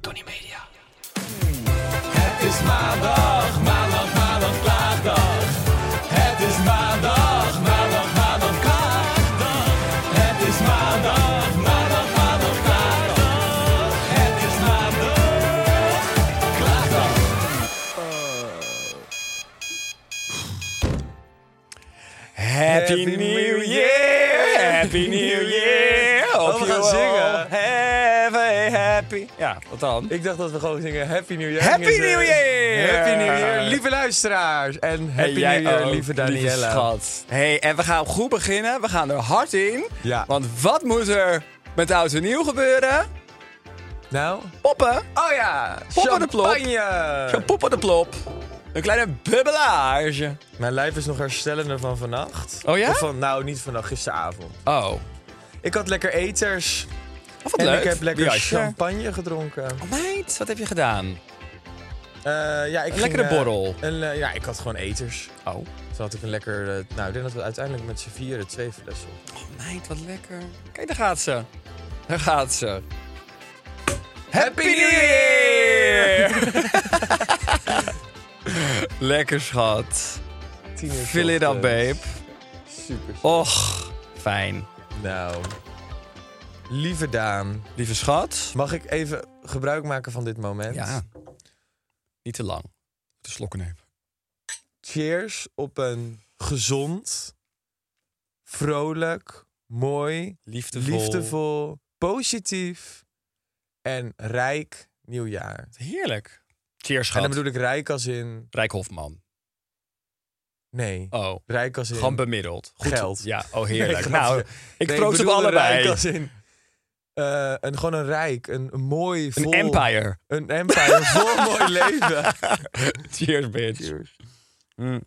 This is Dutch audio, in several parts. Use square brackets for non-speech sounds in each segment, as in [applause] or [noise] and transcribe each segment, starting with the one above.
Tony Media. Het is maandag, maandag, maandag, klaagdag. Het is maandag, maandag, maandag, klaagdag. Het is maandag, maandag, maandag, klaagdag. Het is maandag, klaagdag. Happy New Year, Happy New Year. Oh, you we gaan all zingen. Have a happy... Ja, wat dan? Ik dacht dat we gewoon zingen Happy New Year. Happy Gingen ze- New Year! Happy New Year, lieve luisteraars. En Happy En jij New Year, ook, lieve Daniela. schat. hey, en we gaan goed beginnen. We gaan er hard in. Ja. Want wat moet er met oud en nieuw gebeuren? Nou? Poppen. Oh ja, Poppen de plop. Een champagne. pop op de plop. Een kleine bubbelage. Mijn lijf is nog herstellende van vannacht. Oh ja? Of van, nou, niet vannacht, gisteravond. Oh. Ik had lekker eters. Of wat en leuk. ik heb lekker Biasje. champagne gedronken. Oh, meid, wat heb je gedaan? Eh, ja, ik Een ging, lekkere eh, borrel. een, eh, ja, ik had gewoon eters. Oh. Toen had ik een lekker... eh, nou, ik denk dat we uiteindelijk met z'n vieren twee flessen op. Meid, wat lekker. Kijk, daar gaat ze. Daar gaat ze. Happy New Year! [laughs] lekker, schat. Tien uur Fill it up, ochtends. babe. Super. Och, fijn. Nou, lieve Daan. Lieve schat. Mag ik even gebruik maken van dit moment? Ja. Niet te lang. Te slokken nemen. Cheers op een gezond, vrolijk, mooi, Liefdevol. liefdevol, positief en rijk nieuwjaar. Heerlijk. Cheers, En schat. dan bedoel ik rijk als in... Rijk Hofman. Nee, Oh. rijk als in... Gewoon bemiddeld. Goed. Geld. Ja, oh [laughs] Nee, heerlijk. grapje. nou, ik Nee, proost op bedoelde allebei. Rijk als in... eh, een, gewoon een rijk, een, een mooi, Een vol... empire. Een empire, een [laughs] vol mooi leven. Cheers, bitch. Mm.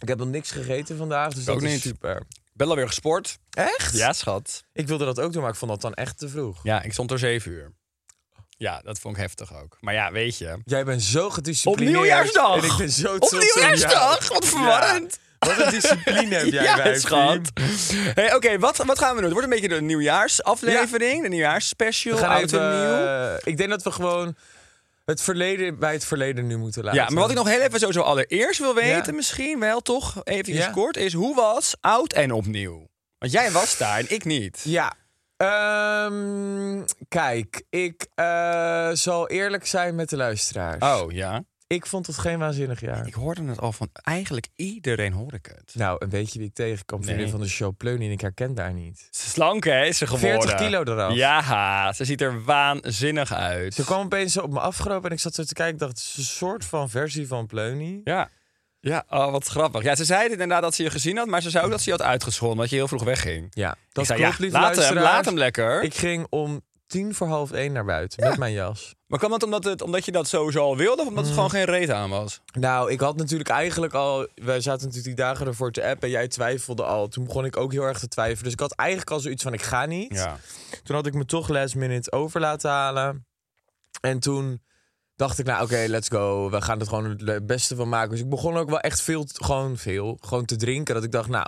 Ik heb nog niks gegeten vandaag, dus Ook dat niet. is super. Ik ben alweer gesport. Echt? Ja, schat. Ik wilde dat ook doen, maar ik vond dat dan echt te vroeg. Ja, ik stond er zeven uur. Ja, dat vond ik heftig ook. Maar ja, weet je. Jij bent zo Op gedisciplineerd. nieuwjaarsdag! En ik ben zo Op trots op jou. nieuwjaarsdag! Wat Ja. verwarrend! Wat een discipline [laughs] heb jij, ja, wijfie. schat. Hey, Oké, wat, wat gaan we doen? Het wordt een beetje de nieuwjaarsaflevering, de nieuwjaarsspecial, We gaan oud even, en nieuw. eh, ik denk dat we gewoon het verleden bij het verleden nu moeten laten. Ja, maar wat ik nog heel even sowieso allereerst wil weten, Ja. misschien wel toch, even Ja. kort, is hoe was oud en opnieuw? Want jij was daar en ik niet. Ja. Ehm, kijk, ik eh, zal eerlijk zijn met de luisteraars. Oh ja. Ik vond het geen waanzinnig jaar. Ik hoorde het al van eigenlijk iedereen hoor ik het. Nou, en weet je wie ik tegenkwam? Vriendin Nee. van de show Pleunie en ik herken daar niet. Ze is slank hè, is ze geworden. 40 kilo eraf. Ja, ze ziet er waanzinnig uit. Ze kwam opeens zo op me afgelopen en ik zat zo te kijken. Ik dacht, het is een soort van versie van Pleunie. Ja. Ja, oh, wat grappig. Ja, ze zei dit inderdaad dat ze je gezien had, maar ze zei ook dat ze je had uitgeschonden, dat je heel vroeg wegging. Ja, dat Ik zei, klopt, ja, lieve laat hem, luisteraars. laat hem lekker. Ik ging om tien voor half één naar buiten met mijn jas. Maar kwam dat omdat, het, omdat je dat sowieso al wilde of omdat Mm. het gewoon geen reet aan was? Nou, ik had natuurlijk eigenlijk al... Wij zaten natuurlijk die dagen ervoor te appen en jij twijfelde al. Toen begon ik ook heel erg te twijfelen. Dus ik had eigenlijk al zoiets van, ik ga niet. Toen had ik me toch last minute over laten halen. En toen dacht ik, nou oké, let's go. We gaan er gewoon het le- beste van maken. Dus ik begon ook wel echt veel, te- gewoon veel, gewoon te drinken. Dat ik dacht, nou...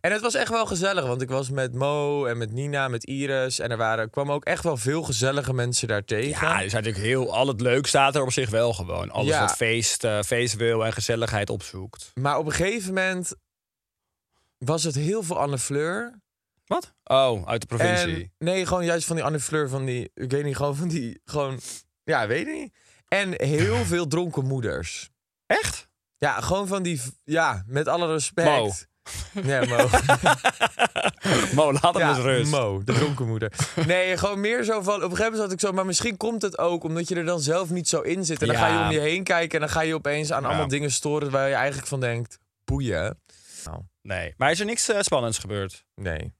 En het was echt wel gezellig, want ik was met Mo en met Nina, met Iris. En er waren, kwamen ook echt wel veel gezellige mensen daar tegen. Ja, dus natuurlijk heel, al het leuk staat er op zich wel gewoon. Alles Ja. wat feest, eh, feest wil en gezelligheid opzoekt. Maar op een gegeven moment was het heel veel Anne Fleur. Wat? Oh, uit de provincie. En, nee, gewoon juist van die Anne Fleur, van die, ik weet niet, gewoon van die, gewoon, ja, weet ik niet. En [laughs] heel veel dronken moeders. Echt? [laughs] Ja, gewoon van die, ja, met alle [laughs] Mo. respect. Nee, [laughs] Mo. Mo, laat hem ja, eens rust. Mo, de dronken moeder. Nee, gewoon meer zo van, op een gegeven moment zat ik zo, maar misschien komt het ook omdat je er dan zelf niet zo in zit. En dan Ja. ga je om je heen kijken en dan ga je opeens aan allemaal dingen storen waar je eigenlijk van denkt, boeien. Nee. Maar is er niks eh, spannends gebeurd? Nee.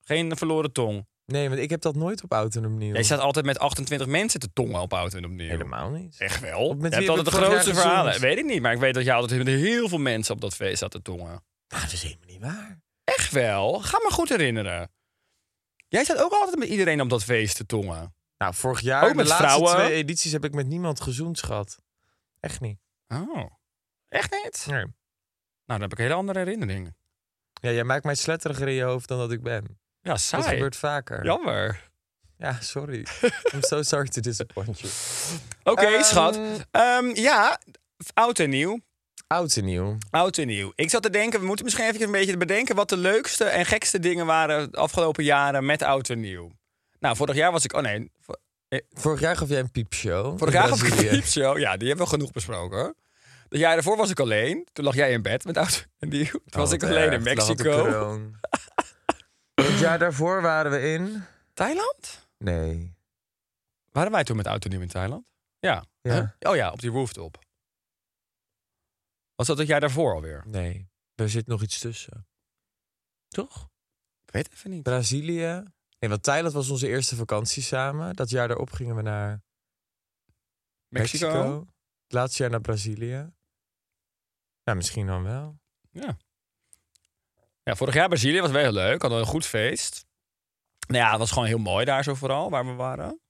Geen verloren tong? Nee, want ik heb dat nooit op auto en opnieuw. Jij staat altijd met 28 mensen te tongen op auto en opnieuw. Helemaal niet. Echt wel? Met je wie hebt heb altijd de ik vorig jaar grootste gezongen? verhalen. Weet ik niet, maar ik weet dat je altijd met heel veel mensen op dat feest zat te tongen. Nou, dat is helemaal niet waar. Echt wel? Ga me goed herinneren. Jij zat ook altijd met iedereen op dat feest te tongen. Nou, vorig jaar, Ook met de laatste vrouwen? twee edities, heb ik met niemand gezoend, schat. Echt niet. Oh. Echt niet? Nee. Nou, dan heb ik hele andere herinneringen. Ja, jij maakt mij sletteriger in je hoofd dan dat ik ben. Ja, Dat saai. gebeurt vaker. Jammer. [laughs] Ja, sorry. I'm so sorry to disappoint you. Oké, Ehm, schat. Ehm, ja, oud en nieuw. Oud en nieuw. Oud en nieuw. Ik zat te denken, we moeten misschien even een beetje bedenken wat de leukste en gekste dingen waren de afgelopen jaren met oud en nieuw. Nou, vorig jaar was ik. Oh nee. vor- Vorig jaar gaf jij een piepshow. Vorig in [laughs] jaar was ik Brazilië. een show. Ja, die hebben we genoeg besproken. hoor. Het jaar daarvoor was ik alleen. Toen lag jij in bed met oud en nieuw. Toen was Oh, ik wat alleen erg. in Toen had ik Mexico. corona. Het jaar daarvoor waren we in... Thailand? Nee. Waren wij toen met oud en nieuw in Thailand? Ja. Ja. Huh? Oh ja, op die rooftop. Was dat het jaar daarvoor alweer? Nee. Er zit nog iets tussen. Toch? Ik weet even niet. Brazilië. Nee, want Thailand was onze eerste vakantie samen. Dat jaar daarop gingen we naar Mexico? Mexico. Het laatste jaar naar Brazilië. Ja, misschien dan wel. Ja, vorig jaar Brazilië was wel heel leuk. Hadden we een goed feest. Nou ja, het was gewoon heel mooi daar zo vooral, waar we waren.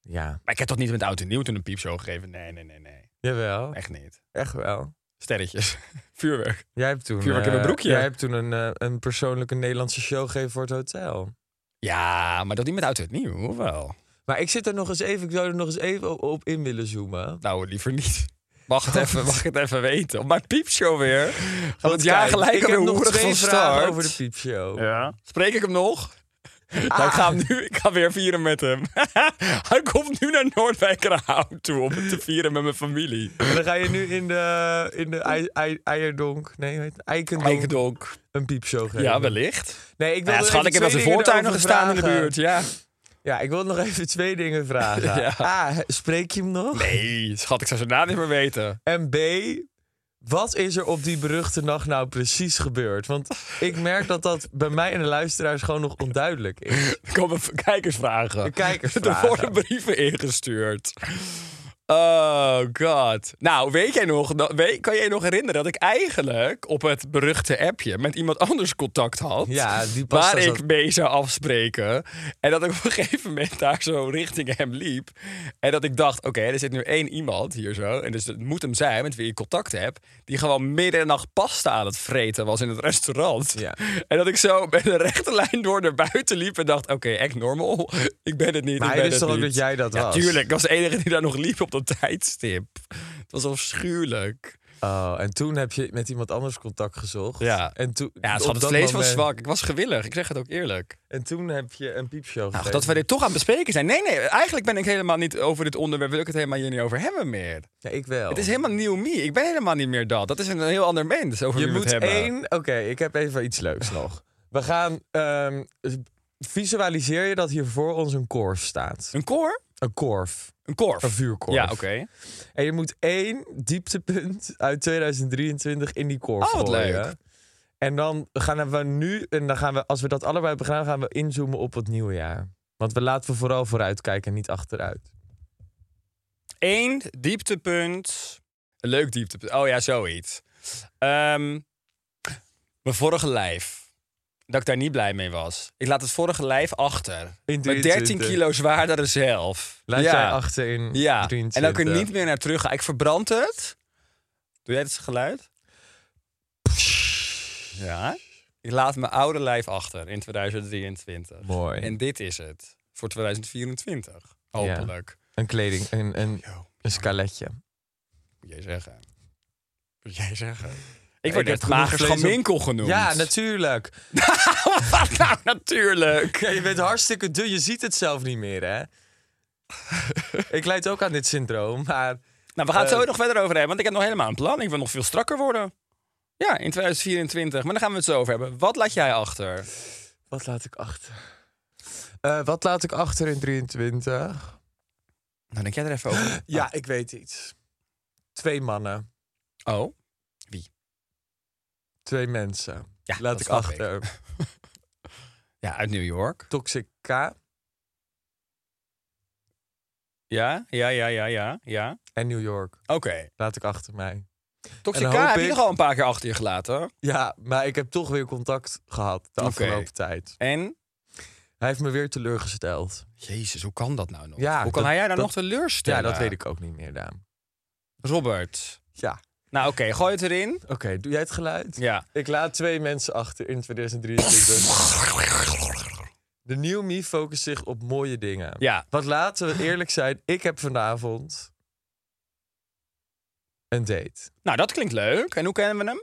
Ja. Maar ik heb toch niet met Oud en Nieuw toen een piepshow gegeven? Nee, nee, nee, nee. Jawel. Echt niet. Echt wel. Sterretjes. [laughs] Vuurwerk. Jij hebt toen, Vuurwerk in eh, mijn broekje. Jij hebt toen een, eh, een persoonlijke Nederlandse show gegeven voor het hotel. Ja, maar dat niet met Oud en Nieuw, of wel? Maar ik zit er nog eens even, ik zou er nog eens even op, op in willen zoomen. Nou, liever [laughs] niet. Mag het even, mag het even weten. Op mijn piepshow weer. Gaan we het Want jaar kijk, gelijk ik heb alweer nog hoerig twee van vragen start. over de piepshow. Ja. Spreek ik hem nog? Nou, ik ga hem nu, ik ga weer vieren met hem. [laughs] Hij komt nu naar Noordwijkerhout toe om het te vieren met mijn familie. En dan ga je nu in de, in de ei- ei- eierdonk, nee, hoe heet het? eikendonk, Eikendonk. een piepshow geven. Ja, wellicht. Nee, ik wil Ja, nog schat, even ik heb als twee de dingen voortuin nog erover gestaan in de vragen. buurt, ja. Ja, ik wil nog even twee dingen vragen. [laughs] A, spreek je hem nog? Nee, schat, ik zou zijn naam niet meer weten. En B, wat is er op die beruchte nacht nou precies gebeurd? Want ik merk dat dat bij mij en de luisteraars gewoon nog onduidelijk is. [laughs] Er komen v- kijkersvragen. De kijkers Er worden brieven ingestuurd. Oh god. Nou, weet jij nog, dat- weet, kan jij je nog herinneren dat ik eigenlijk op het beruchte appje met iemand anders contact had? Ja, die past waar als ik dat- mee zou afspreken. En dat ik op een [laughs] gegeven moment daar zo richting hem liep. En dat ik dacht, oké, er zit nu één iemand hier zo. En dus het moet hem zijn met wie ik contact heb. Die gewoon middernacht pasta aan het vreten was in het restaurant. Ja. [laughs] En dat ik zo met een rechte lijn door naar buiten liep. En dacht, oké, echt normal. [laughs] Ik ben het niet. Maar ik hij ben wist het toch ook niet. dat jij dat Ja, was? tuurlijk. Ik was de enige die daar nog liep op dat tijdstip. Het was afschuwelijk. Oh, en toen heb je met iemand anders contact gezocht. Ja. en toen, Ja, op schat, het dat vlees was moment- zwak. Ik was gewillig. Ik zeg het ook eerlijk. En toen heb je een piepshow Nou, gegeven. dat we dit toch aan het bespreken zijn. Nee, nee, eigenlijk ben ik helemaal niet over dit onderwerp. Wil ik het helemaal hier niet over hebben meer. Ja, ik wel. Het is helemaal nieuw me. Ik ben helemaal niet meer dat. Dat is een heel ander mens over Je wie we het moet hebben. één. Oké, ik heb even iets leuks nog. We gaan. ehm, visualiseer je dat hier voor ons een korf staat. Een koor? Een korf. Een korf. Een vuurkorf. Ja, oké. En je moet één dieptepunt uit 2023 in die korf Oh, wat gooien. leuk. En dan gaan we nu. En dan gaan we, als we dat allebei hebben gedaan, gaan we inzoomen op het nieuwe jaar. Want we laten we vooral vooruit kijken en niet achteruit. Eén dieptepunt. Een leuk dieptepunt. Oh ja, zoiets. Ehm, mijn vorige lijf. Dat ik daar niet blij mee was. Ik laat het vorige lijf achter. In Mijn 13 23. kilo zwaardere zelf. Laat ja. jij achter in Ja. 23. En dan kan ik er niet meer naar terug gaan. Ik verbrand het. Doe jij het geluid? Ja. Ik laat mijn oude lijf achter in 2023. Mooi. En dit is het. Voor 2024. Hopelijk. Een kleding, een, een, Yo. een skaletje. [laughs] Moet jij zeggen. Moet jij zeggen. Ik word heb net genoeg mager vlees op- schaminkel genoemd. Ja, natuurlijk. [laughs] nou, [laughs] natuurlijk. Ja, je bent hartstikke dun. Je ziet het zelf niet meer, hè? ik leid ook aan dit syndroom, maar... Nou, we gaan het Eh. zo nog verder over hebben, want ik heb nog helemaal een plan. Ik wil nog veel strakker worden. Ja, in 2024. Maar daar gaan we het zo over hebben. Wat laat jij achter? Wat laat ik achter? Eh, wat laat ik achter in 23? Nou, denk jij er even over. [gasps] Ja, ik weet iets. Twee mannen, Oh, twee mensen. ja. laat dat ik snap achter. Ja, uit New York. Toxic K Ja, ja, ja, ja, ja. ja. en New York Oké. laat ik achter mij. En dan Toxica hoop heb je ik- toch al een paar keer achter je gelaten. Ja, maar ik heb toch weer contact gehad de Oké. afgelopen tijd. En? Hij heeft me weer teleurgesteld. Jezus, hoe kan dat nou nog? Ja, hoe kan dat- hij jou nou nog dat- teleurstellen? Ja, nou. dat weet ik ook niet meer, Daan. Robert. Ja, Nou, oké, gooi het erin. oké. doe jij het geluid? Ja. Ik laat twee mensen achter in [laughs] 2023. De New Me focust zich op mooie dingen. Ja. Wat laten we eerlijk zijn, ik heb vanavond een date. Nou, dat klinkt leuk. En hoe kennen we hem?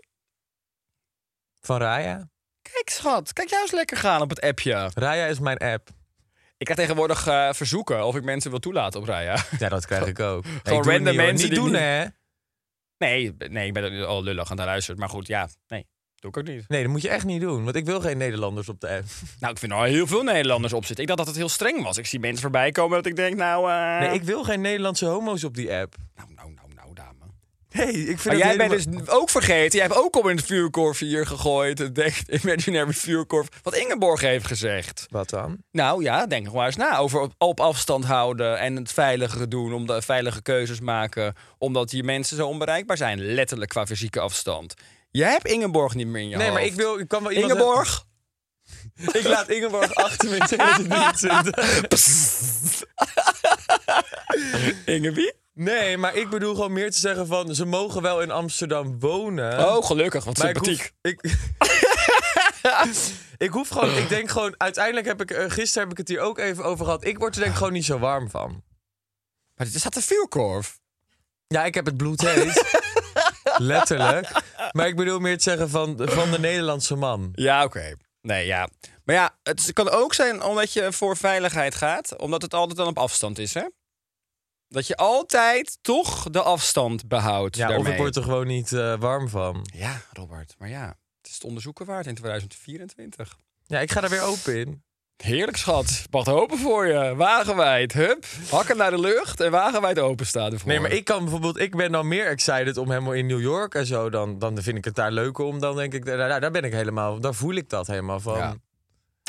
Van Raya. Kijk, schat. Kijk jou eens lekker gaan op het appje. Raya is mijn app. Ik krijg tegenwoordig eh, verzoeken of ik mensen wil toelaten op Raya. [laughs] Ja, dat krijg ik ook. Gewoon random mensen niet die doen, niet- hè? Nee, nee, ik ben al lullig aan het luisteren. Maar goed, ja, nee. Doe ik ook niet. Nee, dat moet je echt niet doen, want ik wil geen Nederlanders op de app. Nou, ik vind er al heel veel Nederlanders op zitten. Ik dacht dat het heel streng was. Ik zie mensen voorbij komen dat ik denk, nou... eh, Nee, ik wil geen Nederlandse homo's op die app. Nou, nou, nou, nou, dame. Nee, ik vind Maar het jij bent helemaal- dus ook vergeten. Jij hebt ook al in het vuurkorf hier gegooid. Het denkt imaginary vuurkorf. Wat Ingeborg heeft gezegd. Wat dan? Nou ja, denk nog maar eens na. Over op, op afstand houden en het veilige doen. Om de veilige keuzes maken. Omdat die mensen zo onbereikbaar zijn. Letterlijk qua fysieke afstand. Jij hebt Ingeborg niet meer in je Nee, maar hoofd. ik wil... Ik kan wel iemand... Ingeborg? [laughs] Ik laat Ingeborg achter me [laughs] in 2023. Inge wie? Nee, maar ik bedoel gewoon meer te zeggen van... ze mogen wel in Amsterdam wonen. Oh, gelukkig. Wat maar ik sympathiek. hoef, ik, ik [laughs] hoef gewoon... Ik denk gewoon... Uiteindelijk heb ik... eh, gisteren heb ik het hier ook even over gehad. Ik word er denk ik gewoon niet zo warm van. Maar er staat een vuurkorf. Ja, ik heb het bloed heet. Letterlijk. Maar ik bedoel meer te zeggen van, van de Nederlandse man. [laughs] Ja, oké. Nee, ja. Maar ja, het kan ook zijn omdat je voor veiligheid gaat, omdat het altijd dan op afstand is, hè? Dat je altijd toch de afstand behoudt. Ja, of daarmee. ik word er gewoon niet eh, warm van. Ja, Robert. Maar ja, het is het onderzoeken waard in 2024. Ja, ik ga er weer open in. Heerlijk, schat. Wacht hopen voor je. Wagenwijd. Hup. Hakken naar de lucht en wagenwijd openstaan ervoor. Nee, maar ik kan bijvoorbeeld, ik ben dan meer excited om helemaal in New York en zo. Dan, dan vind ik het daar leuker om. Dan denk ik, daar, daar- daar ben ik helemaal, daar voel ik dat helemaal van. Ja.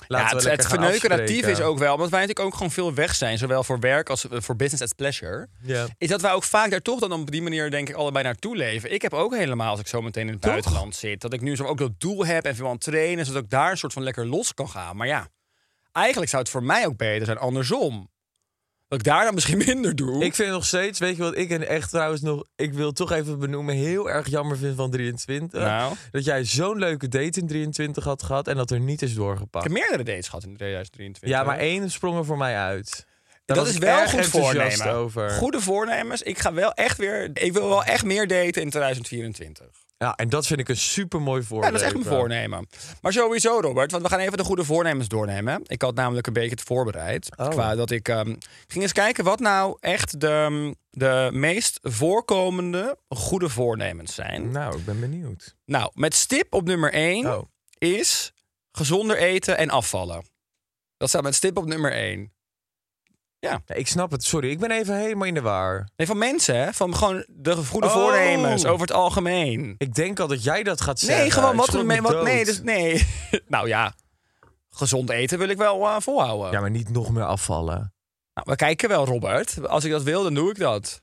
Laten ja, we het, lekker het gaan verneukeratief afspreken. is ook wel, omdat wij natuurlijk ook gewoon veel weg zijn, zowel voor werk als eh, voor business as pleasure. Ja. Is dat wij ook vaak daar toch dan op die manier, denk ik, allebei naartoe leven. Ik heb ook helemaal, als ik zo meteen in het buitenland zit, dat ik nu zo ook dat doel heb en veel aan het trainen, zodat ik daar een soort van lekker los kan gaan. Maar ja, eigenlijk zou het voor mij ook beter zijn andersom. Dat ik daar dan misschien [laughs] minder doe. Ik vind nog steeds, weet je wat ik en echt trouwens nog, ik wil toch even benoemen, heel erg jammer vind van 23. Nou. Dat jij zo'n leuke date in 23 had gehad en dat er niet is Ik doorgepakt. heb meerdere dates gehad in 2023. Ja, maar één sprong er voor mij uit. Dat Daar was is ik wel erg goed enthousiast voornemen. Over. Goede voornemens. Ik ga wel echt weer. Ik wil wel echt meer daten in 2024. Ja, en dat vind ik een super mooi voornemen. Ja, dat is echt mijn voornemen. Maar sowieso, Robert, want we gaan even de goede voornemens doornemen. Ik had namelijk een beetje het voorbereid. Oh. Qua dat ik ehm, ging eens kijken wat nou echt de, de meest voorkomende goede voornemens zijn. Nou, ik ben benieuwd. Nou, met stip op nummer 1 Oh. is gezonder eten en afvallen. Dat staat met stip op nummer 1. Nee, ik snap het. Sorry, ik ben even helemaal in de war. Nee, van mensen, hè? Van gewoon de goede Oh. voornemens over het algemeen. Ik denk al dat jij dat gaat zeggen. Nee, gewoon Ik wat... schrok nee, me wat dood. nee, dus, nee. [laughs] nou ja, gezond eten wil ik wel eh, volhouden. Ja, maar niet nog meer afvallen. Nou, we kijken wel, Robert. Als ik dat wil, dan doe ik dat.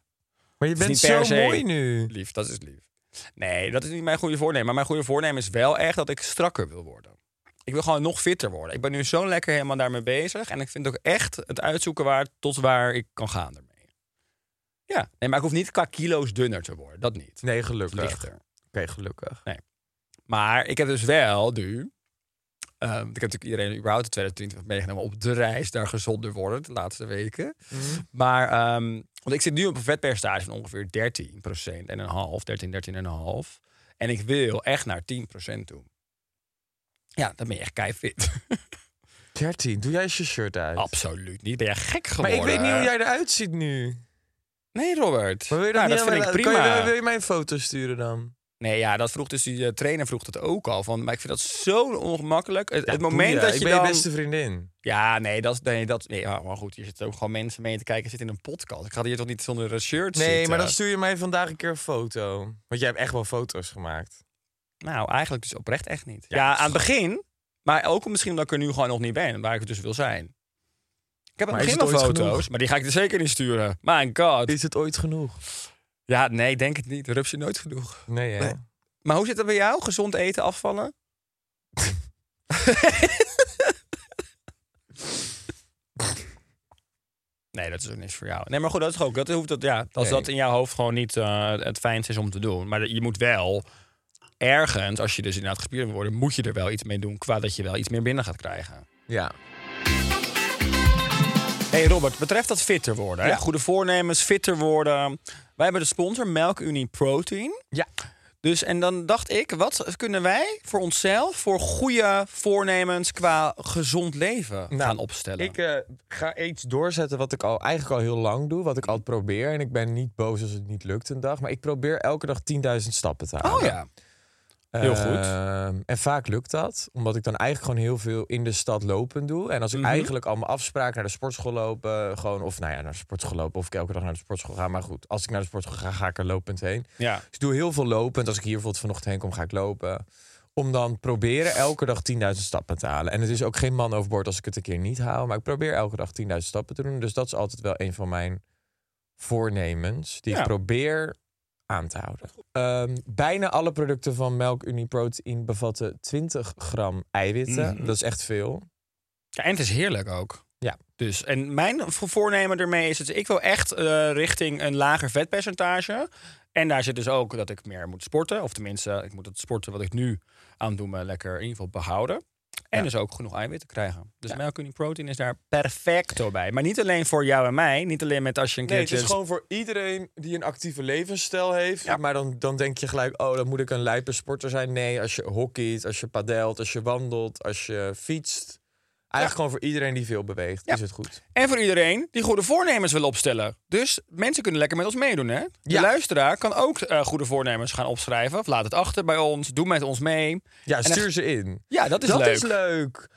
Maar je bent niet per zo se. mooi nu. Lief, dat is lief. Nee, dat is niet mijn goede voornemen. Maar mijn goede voornemen is wel echt dat ik strakker wil worden. Ik wil gewoon nog fitter worden. Ik ben nu zo lekker helemaal daarmee bezig. En ik vind ook echt het uitzoeken waar, tot waar ik kan gaan ermee. Ja, nee, maar ik hoef niet qua kilo's dunner te worden. Dat niet. Nee, Of gelukkig. Oké, Lichter. gelukkig. Maar ik heb dus wel nu... ehm, want ik heb natuurlijk iedereen überhaupt in 2020 meegenomen op de reis daar gezonder worden de laatste weken. Mhm. Maar, ehm, want ik zit nu op een vetpercentage van ongeveer 13 procent en een half, 13, 13 en een half. En ik wil echt naar 10% toe. Ja, dan ben je echt [laughs] keifit. 13, doe jij eens je shirt uit. Absoluut niet. Ben je gek Maar geworden? ik weet niet hoe jij eruit ziet nu. Nee, Robert. Maar wil je dat nou, niet dat vind ik aan mij laten- prima. kan je, wil je mij een foto sturen dan? Nee, ja, dat vroeg dus die eh, trainer vroeg het ook al. Van, maar ik vind dat zo ongemakkelijk. Het, het Ja, moment boeien. dat je ik ben dan... je beste vriendin. Ja, nee, dat... Nee, dat nee, ja, maar goed, hier zitten ook gewoon mensen mee te kijken. Ik zit in een podcast. Ik ga hier toch niet zonder een shirt Nee, zitten? maar dan stuur je mij vandaag een keer een foto. Want jij hebt echt wel foto's gemaakt. Nou, eigenlijk dus oprecht echt niet. Ja, aan het begin. Maar ook misschien omdat ik er nu gewoon nog niet ben. Waar ik dus wil zijn. Ik heb aan Maar het is begin wel het ooit foto's. genoeg? Maar die ga ik er zeker niet sturen. My god. Is het ooit genoeg? Ja, nee, denk het niet. Rups je nooit genoeg. Nee, hè? Nee. Maar hoe zit dat bij jou? Gezond eten, afvallen? nee, dat is ook niks voor jou. Nee, maar goed, dat is ook. Dat hoeft dat, ja, als Nee. dat in jouw hoofd gewoon niet eh, het fijnst is om te doen. Maar je moet wel ergens, als je dus inderdaad gespierd wil worden, moet je er wel iets mee doen. Qua dat je wel iets meer binnen gaat krijgen. Ja. Hey Robert, betreft dat fitter worden? hè? Ja. Goede voornemens, fitter worden. Wij hebben de sponsor Melkunie Protein. Ja. Dus en dan dacht ik, wat kunnen wij voor onszelf voor goede voornemens qua gezond leven gaan opstellen? Nou, Ik eh, ga iets doorzetten wat ik al, eigenlijk al heel lang doe. Wat ik altijd probeer. En ik ben niet boos als het niet lukt een dag. Maar ik probeer elke dag 10.000 stappen te halen. oh ja. heel goed. Ehm, en vaak lukt dat. Omdat ik dan eigenlijk gewoon heel veel in de stad lopen doe. En als ik Mhm. eigenlijk al mijn afspraken naar de sportschool loop. eh, gewoon, of nou ja, naar de sportschool lopen. Of ik elke dag naar de sportschool ga. Maar goed, als ik naar de sportschool ga, ga ik er lopend heen. ja. Dus ik doe heel veel lopend. Als ik hier bijvoorbeeld vanochtend heen kom, ga ik lopen. Om dan proberen elke dag 10.000 stappen te halen. En het is ook geen man overboord als ik het een keer niet haal. Maar ik probeer elke dag 10.000 stappen te doen. Dus dat is altijd wel een van mijn voornemens. Die Ja. ik probeer aan te houden. Ehm, bijna alle producten van Melk Uniprotein bevatten 20 gram eiwitten. Mhm. Dat is echt veel. Ja, En het is heerlijk ook. Ja. Dus, en mijn vo- voornemen ermee is het, ik wil echt eh, richting een lager vetpercentage. En daar zit dus ook dat ik meer moet sporten. Of tenminste, ik moet het sporten wat ik nu aan het doen ben lekker in ieder geval behouden. En Ja. dus ook genoeg eiwitten krijgen. Dus melkunie protein is daar perfecto bij. Maar niet alleen voor jou en mij. Niet alleen met als je een Nee, het keertje... is gewoon voor iedereen die een actieve levensstijl heeft. Maar dan, dan denk je gelijk, oh, dan moet ik een lijpe sporter zijn. Nee, als je hockeyt, als je padelt, als je wandelt, als je fietst. Eigenlijk gewoon voor iedereen die veel beweegt, Ja. is het goed. En voor iedereen die goede voornemens wil opstellen. Dus mensen kunnen lekker met ons meedoen, hè? De Ja. luisteraar kan ook eh, goede voornemens gaan opschrijven. Of laat het achter bij ons. Doe met ons mee. Ja, En dan- stuur ze in. Ja, dat is dat leuk. is leuk.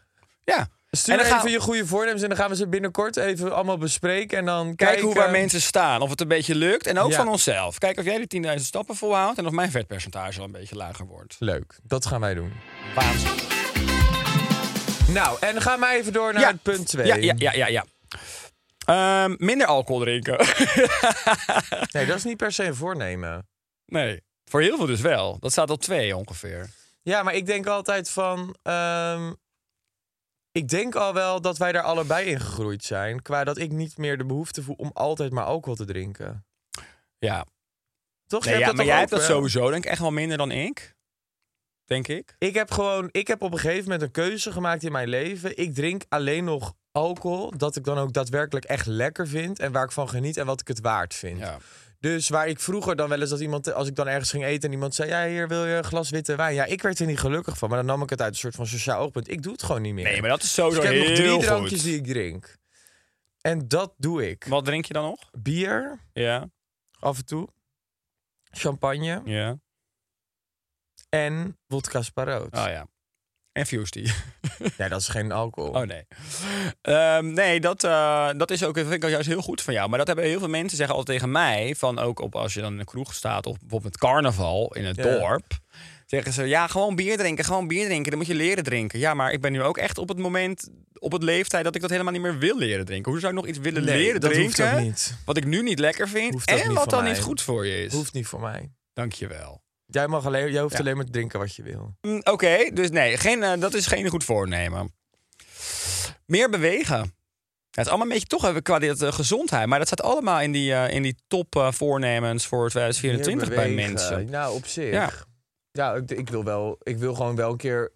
Ja. Stuur En dan even gaan- je goede voornemens en dan gaan we ze binnenkort even allemaal bespreken. En dan Kijk kijken hoe waar mensen staan. Of het een beetje lukt. En ook Ja. van onszelf. Kijk of jij die 10.000 stappen volhoudt. En of mijn vetpercentage al een beetje lager wordt. Leuk, dat gaan wij doen. Waanzin. Nou, en gaan wij even door naar het punt 2. Ja, ja, ja, ja. ja. Ehm, minder alcohol drinken. [laughs] Nee, dat is niet per se een voornemen. nee. Voor heel veel dus wel. Dat staat op twee ongeveer. Ja, maar ik denk altijd van. ehm, ik denk al wel dat wij daar allebei in gegroeid zijn. Qua dat ik niet meer de behoefte voel om altijd maar alcohol te drinken. Ja. Toch? Nee, Je hebt ja maar dat jij toch ook eh? hebt dat wel? sowieso denk ik echt wel minder dan ik. Denk ik. Ik heb gewoon. Ik heb op een gegeven moment een keuze gemaakt in mijn leven. Ik drink alleen nog alcohol. Dat ik dan ook daadwerkelijk echt lekker vind. En waar ik van geniet en wat ik het waard vind. Ja. Dus waar ik vroeger dan wel eens dat iemand, als ik dan ergens ging eten en iemand zei: Ja, hier wil je een glas witte wijn. Ja, ik werd er niet gelukkig van, maar dan nam ik het uit een soort van sociaal oogpunt. Ik doe het gewoon niet meer. Nee, maar dat is sowieso Dus ik heb nog Oh, heel drie goed. drankjes die ik drink. En dat doe ik. Wat drink je dan nog? Bier, Ja. af en toe. Champagne. Ja. En wodka sparoot. Oh ja. En Fusty. Nee, dat is geen alcohol. Oh nee. Ehm, nee, dat, eh, dat is ook, dat vind ik juist heel goed van jou. Maar dat hebben heel veel mensen zeggen altijd tegen mij. Van ook op, als je dan in de kroeg staat. Of bijvoorbeeld met carnaval in het Ja. dorp. Zeggen ze, ja, gewoon bier drinken, gewoon bier drinken. Dan moet je leren drinken. Ja, maar ik ben nu ook echt op het moment, op het leeftijd... dat ik dat helemaal niet meer wil leren drinken. Hoe zou ik nog iets willen Nee, leren dat hoeft drinken? ook niet. Wat ik nu niet lekker vind. Hoeft ook en niet wat van dan mij. niet goed voor je is. Hoeft niet voor mij. Dankjewel. Jij, mag alleen, jij hoeft Dus- Ja. alleen maar te drinken wat je wil. Mm, Oké, dus nee, geen, eh, dat is geen goed voornemen. Meer bewegen. Ja, het is allemaal een beetje toch even qua dit, eh, gezondheid. Maar dat staat allemaal in die, eh, in die top eh, voornemens voor 2024 Meer bij bewegen. mensen. Nou, op zich. Ja. Ja, ik, ik, wil wel, ik wil gewoon wel een keer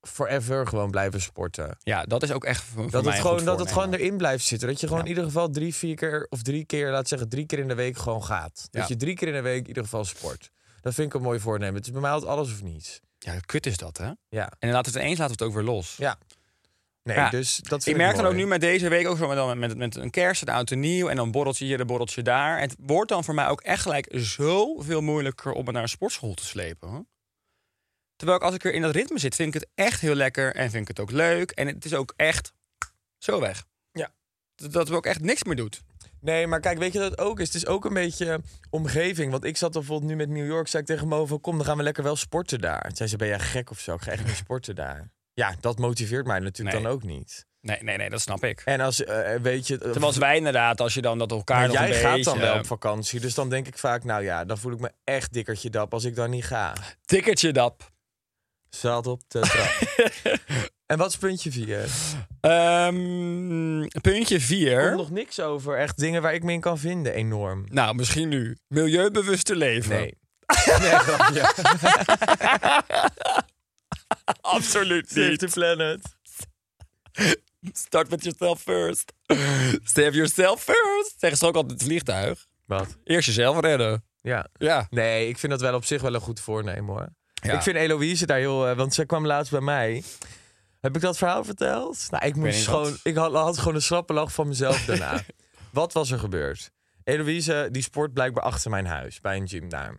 forever gewoon blijven sporten. Ja, dat is ook echt voor voor Dat mij het, een gewoon, goed dat het gewoon voornemen. erin blijft zitten. Dat je gewoon Ja. in ieder geval drie, vier keer of drie keer, laat zeggen, drie keer in de week gewoon gaat. Ja. Dat je drie keer in de week in ieder geval sport. Dat vind ik een mooi voornemen. Het is bij mij altijd alles of niets. Ja, kut is dat, hè? Ja. En dan laten we het ineens laten we het ook weer los. Ja. Nee, Ja. dus dat Ik vind merk dan mooi. ook nu met deze week ook zo met, dan met, met een kerst, een oud en nieuw... en dan borreltje hier, een borreltje daar. Het wordt dan voor mij ook echt gelijk zoveel moeilijker... om me naar een sportschool te slepen. hoor. Terwijl ik als ik weer in dat ritme zit, vind ik het echt heel lekker... en vind ik het ook leuk. En het is ook echt zo weg. Ja. Dat, dat we ook echt niks meer doet. Nee, maar kijk, weet je dat het ook is? Het is ook een beetje omgeving. Want ik zat dan bijvoorbeeld nu met New York, zei ik tegen Mo van... kom, dan gaan we lekker wel sporten daar. Toen zei ze, ben jij gek of zo? Ik ga echt niet sporten daar. Ja, dat motiveert mij natuurlijk Nee. dan ook niet. Nee, nee, nee, dat snap ik. En als, eh, weet je... eh, Terwijl wij inderdaad, als je dan dat elkaar maar nog jij een gaat beetje, dan wel eh, op vakantie. Dus dan denk ik vaak, nou ja, dan voel ik me echt dikkertje dap als ik dan niet ga. Tikkertje dap. Zat op de trap. [laughs] en wat is puntje vier? Ehm, puntje Er 4. komt nog niks over. Echt dingen waar ik me in kan vinden, enorm. Nou, misschien nu. Milieubewuster leven. Nee. nee, grapje. absoluut Save the planet. Start with yourself first. [laughs] Save yourself first. Zeggen ze ook altijd het vliegtuig. Wat? Eerst jezelf redden. Ja. Ja. Nee, ik vind dat wel op zich wel een goed voornemen hoor. Ja. Ik vind Eloïse daar heel... eh, want zij kwam laatst bij mij. Heb ik dat verhaal verteld? Nou, ik, moest niet gewoon, wat. ik had, had gewoon een slappe lach van [laughs] mezelf daarna. wat was er gebeurd? Eloïse, die sport blijkbaar achter mijn huis. Bij een gym daar.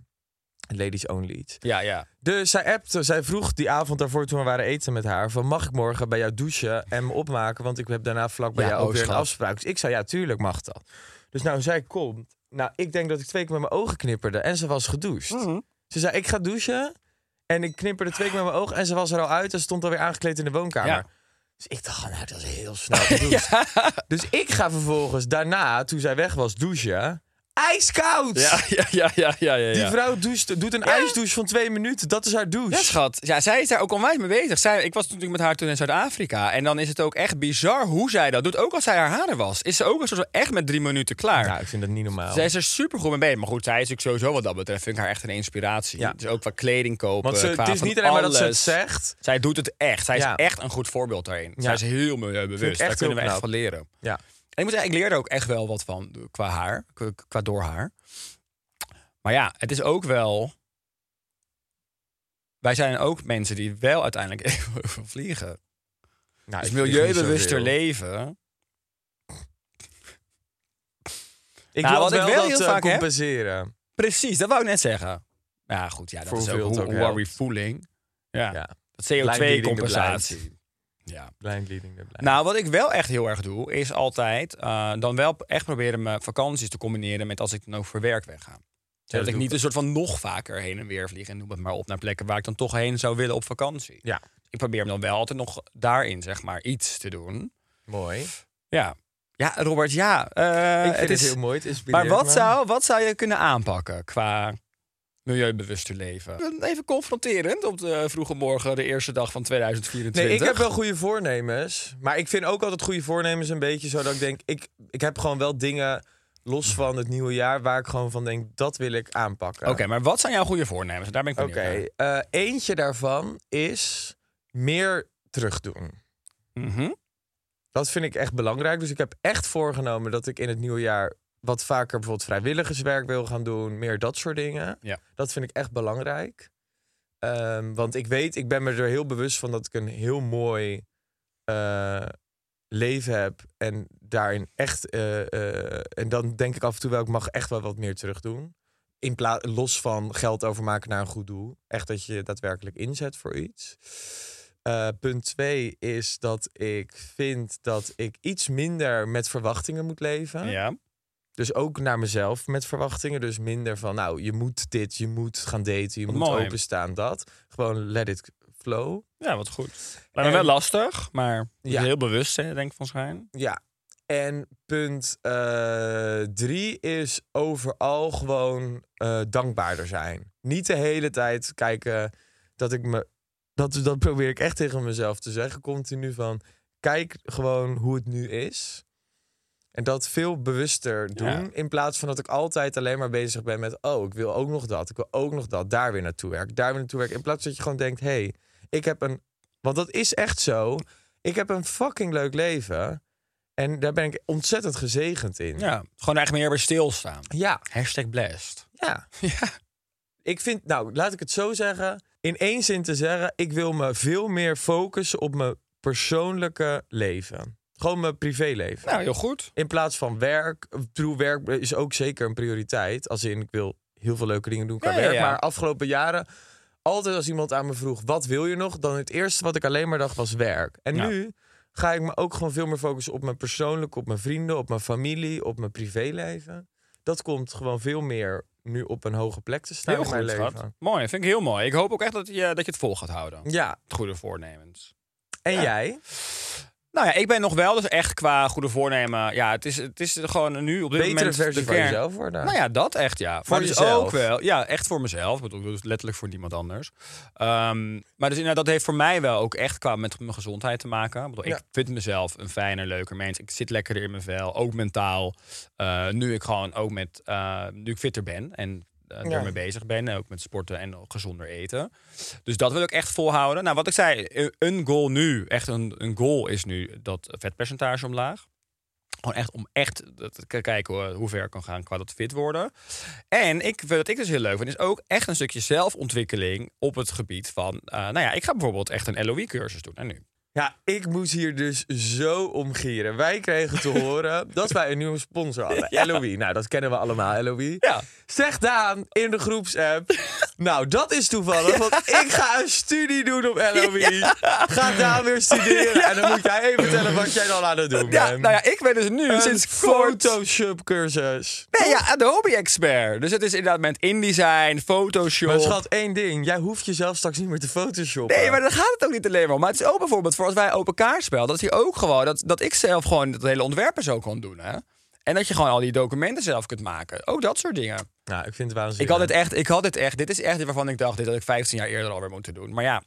Ladies only. iets. Ja, ja. Dus zij appte, zij vroeg die avond daarvoor toen we waren eten met haar... van mag ik morgen bij jou douchen en me opmaken? Want ik heb daarna vlak bij Ja, jou ook oh, weer een schat. afspraak. Dus ik zei, ja, tuurlijk mag dat. Dus nou, zij komt. Nou, ik denk dat ik twee keer met mijn ogen knipperde en ze was gedoucht. Mhm. Ze zei, ik ga douchen en ik knipperde twee keer met mijn ogen... en ze was er al uit en stond alweer aangekleed in de woonkamer. Ja. Dus ik dacht, nou, dat is heel [laughs] snel gedoucht. Dus ik ga vervolgens daarna, toen zij weg was, douchen... Ijskoud! Ja, [laughs] ja, ja, ja, ja. ja, Die ja. vrouw doucht, doet een ijsdouche van twee minuten. Dat is haar douche. Ja, schat. Ja, zij is daar ook onwijs mee bezig. Zij, ik was natuurlijk met haar toen in Zuid-Afrika. En dan is het ook echt bizar hoe zij dat doet. Ook als zij haar haren was. Is ze ook een soort van echt met drie minuten klaar. Nou, ik vind dat niet normaal. Zij is er super goed mee bezig. Maar goed, zij is ook sowieso wat dat betreft. Vind ik haar echt een inspiratie. Ja. Dus ook qua kleding kopen. Want ze, qua het is van niet alleen maar dat ze het alles. zegt. Zij doet het echt. Zij Ja. is echt een goed voorbeeld daarin. Ja. Zij is heel milieubewust. Vind ik Daar echt kunnen we heel echt van knap. leren. Ja. En ik moet zeggen, ik leer er ook echt wel wat van qua haar, qua- qua door haar. Maar ja, het is ook wel... Wij zijn ook mensen die wel uiteindelijk [laughs] even vliegen. Nou, dus ik vlieg niet milieubewuster zoveel. leven. Ik Nou, wil wat ik wel wel dat heel eh, vaak heb- compenseren. Precies, dat wou ik net zeggen. Ja, goed, ja, dat Voor is ook hoeveel het hoe, ook hoe are we helpt. feeling. Ja, Ja. dat Blind leading the CO2-compensatie. blind. Ja. Blind leading the blind. Nou, wat ik wel echt heel erg doe, is altijd eh, dan wel echt proberen mijn vakanties te combineren met als ik dan ook voor werk wegga. dat Zodat ik doe niet een soort van nog vaker heen en weer vlieg en noem het maar op naar plekken waar ik dan toch heen zou willen op vakantie. Ja. Ik probeer hem dan wel altijd nog daarin, zeg maar, iets te doen. Mooi. Ja. Ja, Robert, ja. eh, ik vind het is, heel mooi. Eh, Het maar inspireert wat me. zou, wat zou je kunnen aanpakken qua milieubewuster leven? Even confronterend op de vroege morgen, de eerste dag van 2024. Nee, ik heb wel goede voornemens. Maar ik vind ook altijd goede voornemens een beetje zo dat ik denk... Ik, ik heb gewoon wel dingen los van het nieuwe jaar waar ik gewoon van denk... dat wil ik aanpakken. Oké, maar wat zijn jouw goede voornemens? Daar ben ik Oké, benieuwd naar. eh, eentje daarvan is meer terugdoen. Mhm. Dat vind ik echt belangrijk. Dus ik heb echt voorgenomen dat ik in het nieuwe jaar wat vaker bijvoorbeeld vrijwilligerswerk wil gaan doen. Meer dat soort dingen. Ja. Dat vind ik echt belangrijk. Ehm, want ik weet, ik ben me er heel bewust van dat ik een heel mooi eh, leven heb. En daarin echt. eh, eh, en dan denk ik af en toe wel, ik mag echt wel wat meer terugdoen. In pla- los van geld overmaken naar een goed doel. Echt dat je daadwerkelijk inzet voor iets. Eh, punt twee is dat ik vind dat ik iets minder met verwachtingen moet leven. Ja. Dus ook naar mezelf met verwachtingen. Dus minder van, nou, je moet dit, je moet gaan daten, je Wat moet mooi. openstaan, dat. Gewoon let it flow. ja, wat goed. Lijkt me En- wel lastig, maar Ja. heel bewust hè, denk ik van schijn. Ja. En punt eh, drie is overal gewoon eh, dankbaarder zijn. Niet de hele tijd kijken dat ik me... Dat, dat probeer ik echt tegen mezelf te zeggen. Continu van, kijk gewoon hoe het nu is. En dat veel bewuster doen. Ja. In plaats van dat ik altijd alleen maar bezig ben met... oh, ik wil ook nog dat, ik wil ook nog dat. Daar weer naartoe werken, daar weer naartoe werken. In plaats dat je gewoon denkt, hé, hey, ik heb een... Want dat is echt zo. Ik heb een fucking leuk leven. En daar ben ik ontzettend gezegend in. Ja, gewoon eigenlijk meer bij stilstaan. Ja. Hashtag blessed. [laughs] ja. Ja. Ik vind, nou, laat ik het zo zeggen. In één zin te zeggen, ik wil me veel meer focussen op mijn persoonlijke leven. Gewoon mijn privéleven. Nou, heel goed. In plaats van werk. eh, Ik bedoel, werk is ook zeker een prioriteit. Als in, ik wil heel veel leuke dingen doen qua Ja, ja, werk. ja. Maar afgelopen jaren, altijd als iemand aan me vroeg... wat wil je nog? Dan het eerste wat ik alleen maar dacht was werk. En Ja. nu ga ik me ook gewoon veel meer focussen op mijn persoonlijke... op mijn vrienden, op mijn familie, op mijn privéleven. Dat komt gewoon veel meer nu op een hoge plek te staan Heel in mijn goed, leven. schat. Mooi, vind ik heel mooi. Ik hoop ook echt dat je, dat je het vol gaat houden. Ja, Het goede voornemens. en jij? Nou ja, ik ben nog wel dus echt qua goede voornemen. Ja, het is, het is gewoon nu op dit Betere moment versie de van kern. jezelf worden. Nou ja, dat echt ja. Voor dus jezelf? ook wel. Ja, echt voor mezelf. Ik bedoel, dus letterlijk voor niemand anders. Ehm, maar dus inderdaad, dat heeft voor mij wel ook echt qua met mijn gezondheid te maken. Ik, bedoel, Ja. ik vind mezelf een fijner, leuker mens. Ik zit lekkerder in mijn vel, ook mentaal. Eh, nu ik gewoon ook met, eh, nu ik fitter ben en eh, Ja. daarmee bezig ben. Ook met sporten en gezonder eten. Dus dat wil ik echt volhouden. Nou, wat ik zei, e- een goal nu, echt een, een goal is nu dat vetpercentage omlaag. Gewoon echt om echt te k- kijken hoe- hoe ver ik kan gaan qua dat fit worden. En ik, wat ik dus heel leuk vind, is ook echt een stukje zelfontwikkeling op het gebied van... eh, nou ja, ik ga bijvoorbeeld echt een LOE-cursus doen. En nu? Ja, ik moest hier dus zo om gieren. Wij kregen [laughs] te horen dat wij een nieuwe sponsor hadden. LOE. Nou, dat kennen we allemaal, LOE. Ja. Zeg Daan in de [laughs] groepsapp. nou, dat is toevallig, want ik ga een studie doen op LOE. Ga Daan weer studeren. En dan moet jij even vertellen wat jij dan aan het doen Ja, bent. nou ja, ik ben dus nu een sinds kort... Photoshop cursus. Nee, ja, Adobe-expert. Dus het is inderdaad met InDesign, Photoshop... Maar schat, één ding. Jij hoeft jezelf straks niet meer te photoshoppen. Nee, maar dan gaat het ook niet alleen maar om. Maar het is ook bijvoorbeeld voor als wij open kaart spelen, dat is hier ook gewoon dat, dat ik zelf gewoon het hele ontwerpen zo kan doen. Hè? En dat je gewoon al die documenten zelf kunt maken. Ook dat soort dingen. Nou, ik vind het waanzinnig. Ik had dit echt, ik had dit echt. Dit is echt waarvan ik dacht, dit had ik 15 jaar eerder alweer moeten doen. Maar ja,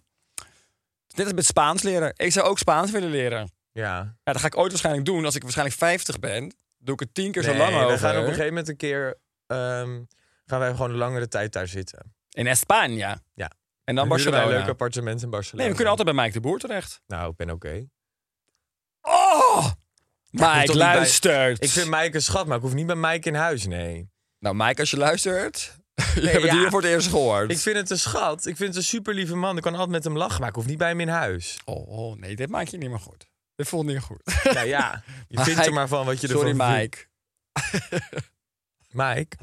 dit is met Spaans leren. Ik zou ook Spaans willen leren. Ja. Ja, dat ga ik ooit waarschijnlijk doen. Als ik waarschijnlijk 50 ben, doe ik het tien keer Nee, zo lang over. we gaan op een gegeven moment een keer... ehm, gaan wij gewoon een langere tijd daar zitten. In Espanja. Ja. En dan huren wij Barcelona. een leuk appartement in Barcelona. Nee, we kunnen altijd bij Mike de Boer terecht. Nou, ik ben oké. Oh! Mike, toch niet bij- luistert. Ik vind Mike een schat, maar ik hoef niet bij Mike in huis, nee. Nou, Mike, als je luistert. [laughs] je hebt ja. het hier voor het eerst gehoord. Ik vind het een schat. Ik vind het een super lieve man. Ik kan altijd met hem lachen, maar ik hoef niet bij hem in huis. Oh, oh, nee, dit maak je niet meer goed. Dit voelt niet [laughs] goed. Nou ja, je [laughs] vindt er Mike, maar van wat je ervan Sorry, vindt. [laughs] Mike. Mike.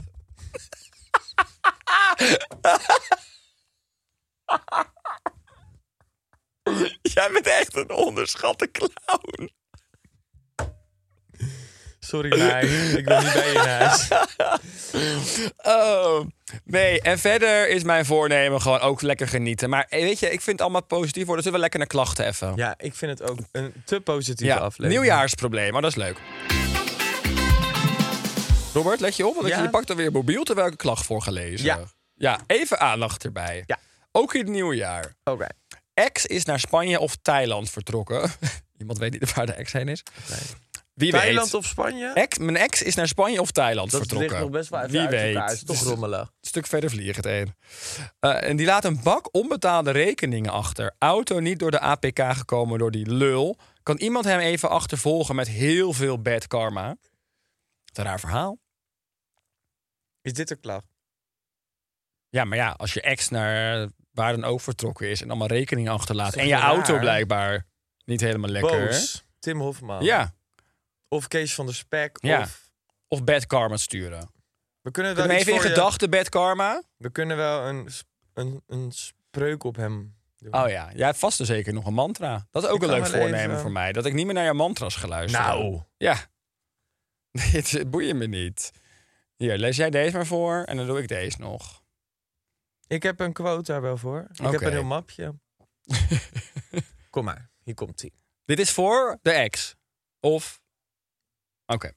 Jij bent echt een onderschatte clown. Sorry, Mike. ik ben niet bij je in [laughs] huis. Oh, nee. En verder is mijn voornemen gewoon ook lekker genieten. Maar eh, weet je, ik vind het allemaal positief worden. Zullen we lekker naar klachten even? Ja, ik vind het ook een te positieve Ja, aflevering. nieuwjaarsprobleem. Maar dat is leuk. Robert, let je op, want Ja. je pakt alweer mobiel terwijl ik een klacht voor gelezen. Ja. ja, even aandacht erbij. Ja. Ook in het nieuwe jaar. Oké. ex is naar Spanje of Thailand vertrokken. [laughs] Iemand weet niet [laughs] waar de ex heen is. Wie Thailand weet. of Spanje? Ex, mijn ex is naar Spanje of Thailand dat vertrokken. ligt nog best wel even Wie uit weet. elkaar. Het is toch Dus rommelig. Een stuk verder vliegt het een. Eh, en die laat een bak onbetaalde rekeningen achter. Auto niet door de APK gekomen door die lul. Kan iemand hem even achtervolgen met heel veel bad karma? Wat een raar verhaal. Is dit een klacht? Ja, maar ja, als je ex naar waar dan ook vertrokken is en allemaal rekeningen achterlaat. Is toch En je raar? auto blijkbaar niet helemaal lekker. Boos. Tim Hofman. Ja, Of Kees van der Spek. Ja. Of... of bad karma sturen. We kunnen Kunnen wel we iets even in voor je- gedachten bad karma? We kunnen wel een, sp- een, een spreuk op hem doen. Oh ja, jij hebt vast en zeker nog een mantra. Dat is ook Ik een kan leuk wel voornemen even- voor mij. Dat ik niet meer naar jouw mantras ga luisteren. Nou. Ja. [laughs] Nee, het boeit me niet. Hier, lees jij deze maar voor en dan doe ik deze nog. Ik heb een quote daar wel voor. Ik heb Oké. een heel [laughs] mapje. Kom maar, hier komt ie. Dit is voor de ex. Of... Oké.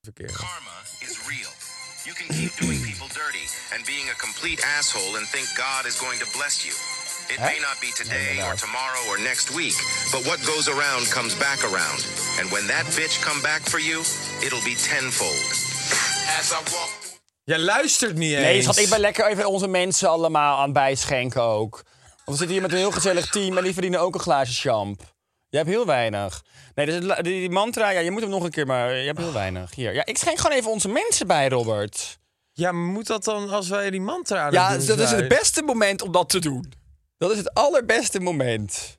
Verkeer. Karma is real. You can keep doing people dirty and being a complete asshole and think God is going to bless you. It may not be today or tomorrow or next week, but what goes around comes back around. And when that bitch come back for you, it'll be tenfold. As I walk Jij luistert niet eens. Nee, schat, ik ben lekker even onze mensen allemaal aan het bijschenken ook. Want we zitten hier met een heel gezellig team en die verdienen ook een glaasje champ. Je hebt heel weinig. Nee, dus het la- die, die mantra, ja, je moet hem nog een keer, maar je hebt heel weinig. Hier, ja, ik schenk gewoon even onze mensen bij, Robert. Ja, maar moet dat dan als wij die mantra aan Ja, het doen dat is het zijn? beste moment om dat te doen. Dat is het allerbeste moment.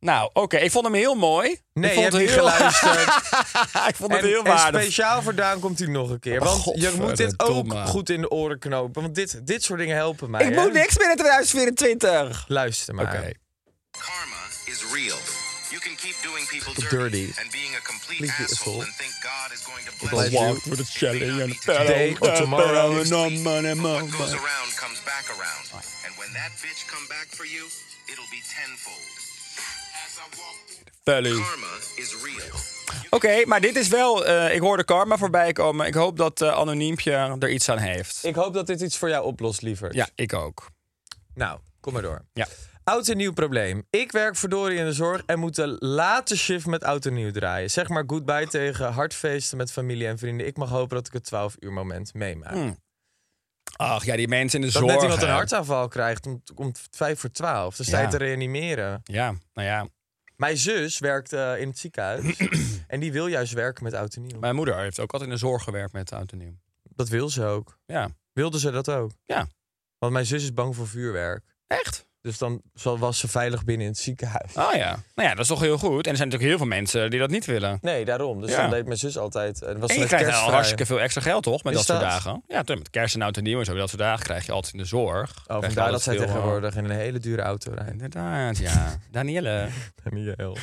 Nou, oké, ik vond hem heel mooi. Nee, ik je vond hebt het niet heel... [laughs] geluisterd. ik vond het En- heel en waardevol. speciaal voor Daan komt hij nog een keer. Want je moet dit ook Godverdomme. goed in de oren knopen. Want dit, dit soort dingen helpen mij. Ik hè? moet niks meer in 2024. Luister maar. Oké. Karma is real. You can keep doing people dirty, Dirty. and being a complete Complete asshole asshole. and think God is going to I bless you. walked with a Shelly and a fellow. Today or tomorrow. And on money, What money. goes around comes back around. And when that bitch come back for you, it'll be tenfold. As I walk through- Fellow. Karma is real. Oké, maar dit is wel... eh, ik hoorde karma voorbij komen. Ik hoop dat eh, Anoniempje er iets aan heeft. Ik hoop dat dit iets voor jou oplost, liever. Ja, ik ook. Nou, kom maar door. Ja. Oud en nieuw probleem. Ik werk verdorie in de zorg en moet de late shift met oud en nieuw draaien. Zeg maar goodbye tegen hartfeesten met familie en vrienden. Ik mag hopen dat ik het 12 uur moment meemaak. Hmm, Ach ja, die mensen in de Dat zorg. net iemand hè. een hartaanval krijgt om, om 5 voor 12. Dan sta je Ja. te reanimeren. Ja, nou ja. Mijn zus werkt eh, in het [clears throat] ziekenhuis. en die wil juist werken met oud en nieuw. Mijn moeder heeft ook altijd in de zorg gewerkt met oud en nieuw. Dat wil ze ook. Ja. Wilde ze dat ook? Ja. Want mijn zus is bang voor vuurwerk. Echt? Dus dan zal- was ze veilig binnen in het ziekenhuis. Oh ja. Nou ja, dat is toch heel goed. En er zijn natuurlijk heel veel mensen die dat niet willen. Nee, daarom. Dus Ja. dan deed mijn zus altijd. En En was ze je met krijgt al kerstvrij. hartstikke veel extra geld, toch? Met Is dat, soort dat? dagen. Ja, tuurlijk, met kerst en oud en nieuw en zo. Dat soort dagen krijg je altijd in de zorg. Krijg je Oh, vandaar altijd dat zij veel, tegenwoordig in een hele dure [laughs] auto eh, rijden. Inderdaad, [laughs] ja. Danielle. Daniel.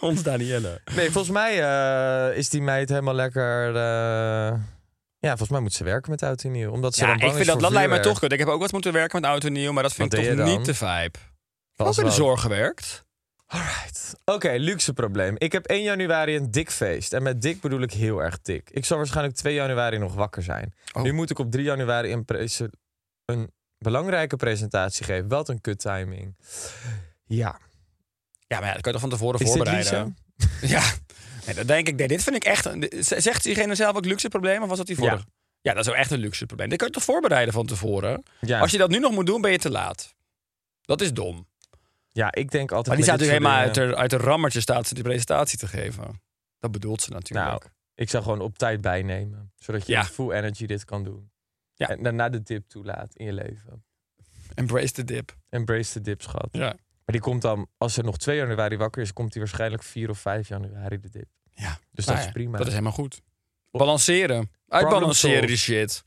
Ons Danielle. Nee, volgens mij eh, is die meid helemaal lekker. eh, Ja, volgens mij moet ze werken met oud en nieuw. Omdat ze Ja, dan ik bang vind is dat, voor dat lijkt mij toch vuurwerk. kut. Ik heb ook wat moeten werken met oud en nieuw, maar dat vind Wat ik deed toch je niet de dan? vibe. Ik heb Was ook in de wat. zorg gewerkt. Alright. Oké, luxe probleem. Ik heb 1 januari een dik feest. En met dik bedoel ik heel erg dik. Ik zal waarschijnlijk 2 januari nog wakker zijn. Oh. Nu moet ik op 3 januari een, prese- een belangrijke presentatie geven. Wat een kut timing. Ja. Ja, maar ja, dat kan je toch van tevoren Is dit voorbereiden. Lisa? Ja, nee, dat denk ik. Nee, dit vind ik echt. een- Zegt diegene zelf ook luxe probleem of was dat die vorige? Ja. Ja. dat is ook echt een luxe probleem. Dit kan je toch voorbereiden van tevoren? Ja. Als je dat nu nog moet doen, ben je te laat. Dat is dom. ja, ik denk altijd... Maar die staat met natuurlijk dit helemaal soort uit dingen- haar, uit haar rammertje staat ze die presentatie te geven. Dat bedoelt ze natuurlijk. Nou, ik zou gewoon op tijd bijnemen. Zodat je Ja. met full energy dit kan doen. Ja. En daarna de dip toelaat in je leven. Embrace the dip. Embrace de dip, schat. Ja. Maar die komt dan, als er nog 2 januari wakker is... komt die waarschijnlijk 4 of 5 januari de dip. ja. Dus Nou dat ja, is prima. Dat is helemaal goed. Balanceren. Uitbalanceren solved. die shit.